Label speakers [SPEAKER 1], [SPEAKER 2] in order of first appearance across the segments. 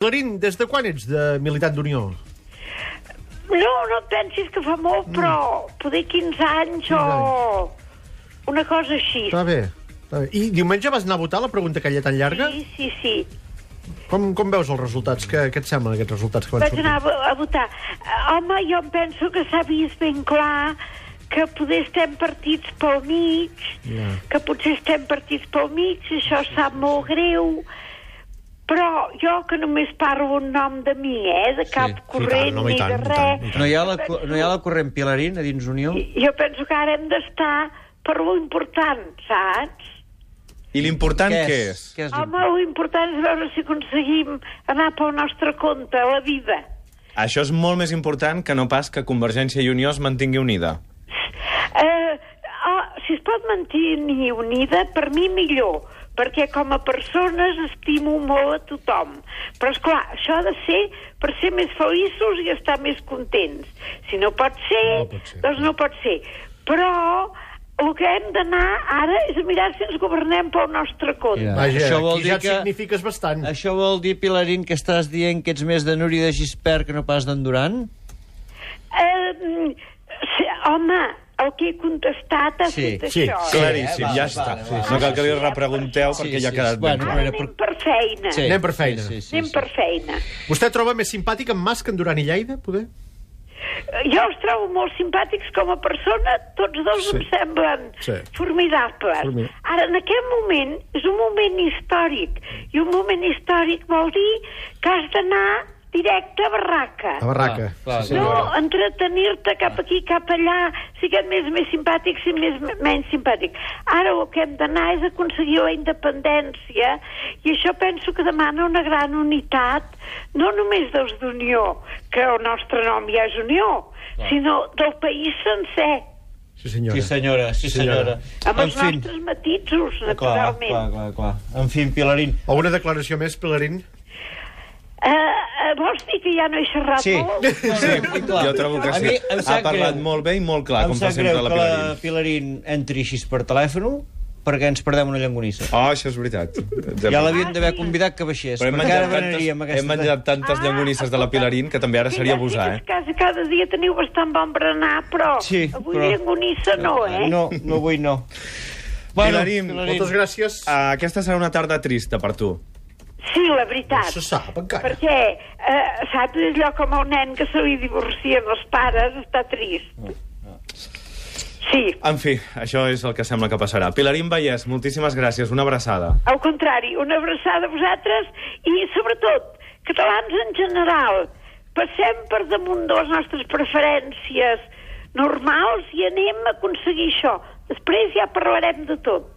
[SPEAKER 1] Clarín, des de quan ets de militant d'Unió?
[SPEAKER 2] No, no et pensis que fa molt,
[SPEAKER 1] Mm.
[SPEAKER 2] però poder 15 anys o una cosa així.
[SPEAKER 1] Està bé. Està bé. I diumenge vas anar a votar la pregunta aquella tan llarga?
[SPEAKER 2] Sí, sí, sí.
[SPEAKER 1] Com, com veus els resultats? Què, què et semblen aquests resultats que van
[SPEAKER 2] Vaig anar
[SPEAKER 1] sortir?
[SPEAKER 2] a, vo- a votar. Eh, Home, jo em penso que s'ha vist ben clar que poder estem partits pel mig,
[SPEAKER 1] Ja.
[SPEAKER 2] que potser estem partits pel mig, i això sap molt greu, però jo que només parlo un nom de mi, eh, de cap
[SPEAKER 3] sí,
[SPEAKER 2] corrent
[SPEAKER 1] home, i
[SPEAKER 2] ni
[SPEAKER 1] tant,
[SPEAKER 2] de
[SPEAKER 1] i tant, i
[SPEAKER 2] res.
[SPEAKER 1] tant.
[SPEAKER 3] No hi ha la, co- no hi ha la corrent Pilarín a dins Unió?
[SPEAKER 2] Jo penso que ara hem d'estar per lo important, saps?
[SPEAKER 4] I l'important què és?
[SPEAKER 3] Què és?
[SPEAKER 2] Home, el important és veure si aconseguim anar pel nostre compte, a la vida.
[SPEAKER 4] Això és molt més important que no pas que Convergència i Unió es mantingui unida.
[SPEAKER 2] Eh, oh, si es pot mantenir unida, per mi millor, perquè com a persones estimo molt a tothom. Però, és clar, això ha de ser per ser més feliços i estar més contents. Si no pot ser,
[SPEAKER 1] No pot ser.
[SPEAKER 2] doncs no pot ser. Però el que hem d'anar ara és a mirar si ens governem pel nostre compte.
[SPEAKER 3] Ja.
[SPEAKER 1] Vaja,
[SPEAKER 3] Això vol
[SPEAKER 1] aquí ja
[SPEAKER 3] dir
[SPEAKER 1] et
[SPEAKER 3] que-
[SPEAKER 1] signifiques bastant.
[SPEAKER 3] Això vol dir, Pilarín, que estàs dient que ets més de Núria de Gispert que no pas d'en Duran?
[SPEAKER 2] Eh, sí, home, el que he contestat ha
[SPEAKER 3] Sí,
[SPEAKER 2] fet
[SPEAKER 1] sí,
[SPEAKER 2] això.
[SPEAKER 1] sí.
[SPEAKER 4] Claríssim,
[SPEAKER 3] eh, vale,
[SPEAKER 4] ja està.
[SPEAKER 3] vale, vale.
[SPEAKER 4] No cal que li repregunteu
[SPEAKER 3] Sí,
[SPEAKER 4] perquè ja
[SPEAKER 3] sí,
[SPEAKER 4] ha quedat
[SPEAKER 3] bueno,
[SPEAKER 4] ben
[SPEAKER 2] Ara
[SPEAKER 4] clar.
[SPEAKER 3] Bueno,
[SPEAKER 2] Ah, anem
[SPEAKER 3] però-
[SPEAKER 2] per feina.
[SPEAKER 3] Sí.
[SPEAKER 1] Anem per feina.
[SPEAKER 3] Sí, sí,
[SPEAKER 2] Anem
[SPEAKER 3] sí,
[SPEAKER 2] per
[SPEAKER 3] sí.
[SPEAKER 2] feina.
[SPEAKER 1] Vostè troba més simpàtic en Mas que en Duran i Lleida, poder?
[SPEAKER 2] Eh, Jo els trobo molt simpàtics com a persona, tots dos
[SPEAKER 1] Sí.
[SPEAKER 2] em semblen
[SPEAKER 1] Sí.
[SPEAKER 2] formidables.
[SPEAKER 1] Formi-
[SPEAKER 2] Ara, en aquest moment, és un moment històric, i un moment històric vol dir que has d'anar directe a barraca.
[SPEAKER 1] A Barraca.
[SPEAKER 3] Ah, clar,
[SPEAKER 1] sí,
[SPEAKER 2] No
[SPEAKER 1] senyora.
[SPEAKER 2] entretenir-te cap aquí, cap allà, si aquest més més simpàtic, si més menys simpàtic. Ara el que hem d'anar és aconseguir la independència i això penso que demana una gran unitat, no només dels d'Unió, que el nostre nom ja és Unió, sinó del país sencer,
[SPEAKER 1] sí senyora.
[SPEAKER 3] Sí, senyora, sí, senyora.
[SPEAKER 2] amb
[SPEAKER 3] En
[SPEAKER 2] els
[SPEAKER 3] fi,
[SPEAKER 2] nostres matisos,
[SPEAKER 3] clar,
[SPEAKER 2] naturalment.
[SPEAKER 3] clar, clar, clar. En fi, Pilarín.
[SPEAKER 1] Alguna declaració més, Pilarín?
[SPEAKER 2] Eh, eh, vols dir que ja no he xerrat
[SPEAKER 3] Sí.
[SPEAKER 2] molt?
[SPEAKER 4] Sí,
[SPEAKER 3] Molt clar.
[SPEAKER 4] jo trobo que
[SPEAKER 3] A
[SPEAKER 4] sí.
[SPEAKER 3] mi em
[SPEAKER 4] Ha
[SPEAKER 3] sap
[SPEAKER 4] parlat
[SPEAKER 3] greu.
[SPEAKER 4] molt bé i molt clar,
[SPEAKER 3] em
[SPEAKER 4] com fa
[SPEAKER 3] sap greu
[SPEAKER 4] sempre la
[SPEAKER 3] que la
[SPEAKER 4] Pilarín.
[SPEAKER 3] Pilarín entri així per telèfon perquè ens perdem una llangonissa.
[SPEAKER 4] Oh, això és veritat.
[SPEAKER 3] Ja l'havien
[SPEAKER 2] Ah,
[SPEAKER 3] d'haver convidat que baixés,
[SPEAKER 4] Però hem
[SPEAKER 3] perquè ara
[SPEAKER 4] menjat, tantes,
[SPEAKER 3] venaríem
[SPEAKER 4] hem
[SPEAKER 3] aquesta... Ah!
[SPEAKER 4] menjat tantes llangonisses de la Pilarín que també ara
[SPEAKER 2] Sí,
[SPEAKER 4] seria
[SPEAKER 2] ja sé
[SPEAKER 4] abusar,
[SPEAKER 2] que
[SPEAKER 4] eh?
[SPEAKER 2] és Quasi cada dia teniu bastant bon berenar, però
[SPEAKER 3] Sí,
[SPEAKER 2] avui
[SPEAKER 3] però-
[SPEAKER 2] llangonissa no,
[SPEAKER 4] Ah,
[SPEAKER 2] eh?
[SPEAKER 3] No, no avui no. Bueno,
[SPEAKER 4] Pilarín,
[SPEAKER 1] Moltes gràcies.
[SPEAKER 4] Ah, aquesta serà una tarda trista per tu.
[SPEAKER 2] Sí, la veritat.
[SPEAKER 1] No se sap, encara.
[SPEAKER 2] Perquè, eh, saps, és allò com a un nen que se li divorcien els pares, està trist.
[SPEAKER 4] Oh,
[SPEAKER 2] Sí,
[SPEAKER 4] En fi, això és el que sembla que passarà. Pilarín Vallès, moltíssimes gràcies, una abraçada.
[SPEAKER 2] al contrari, una abraçada a vosaltres i, sobretot, catalans en general, passem per damunt de les nostres preferències normals i anem a aconseguir això. Després ja parlarem de tot.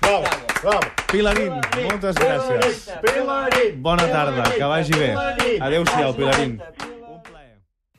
[SPEAKER 1] Bravo, bravo.
[SPEAKER 4] Pilarín, moltes gràcies.
[SPEAKER 1] Pilarín!
[SPEAKER 4] Bona tarda, que vagi bé. Adéu-siau, Pilarín.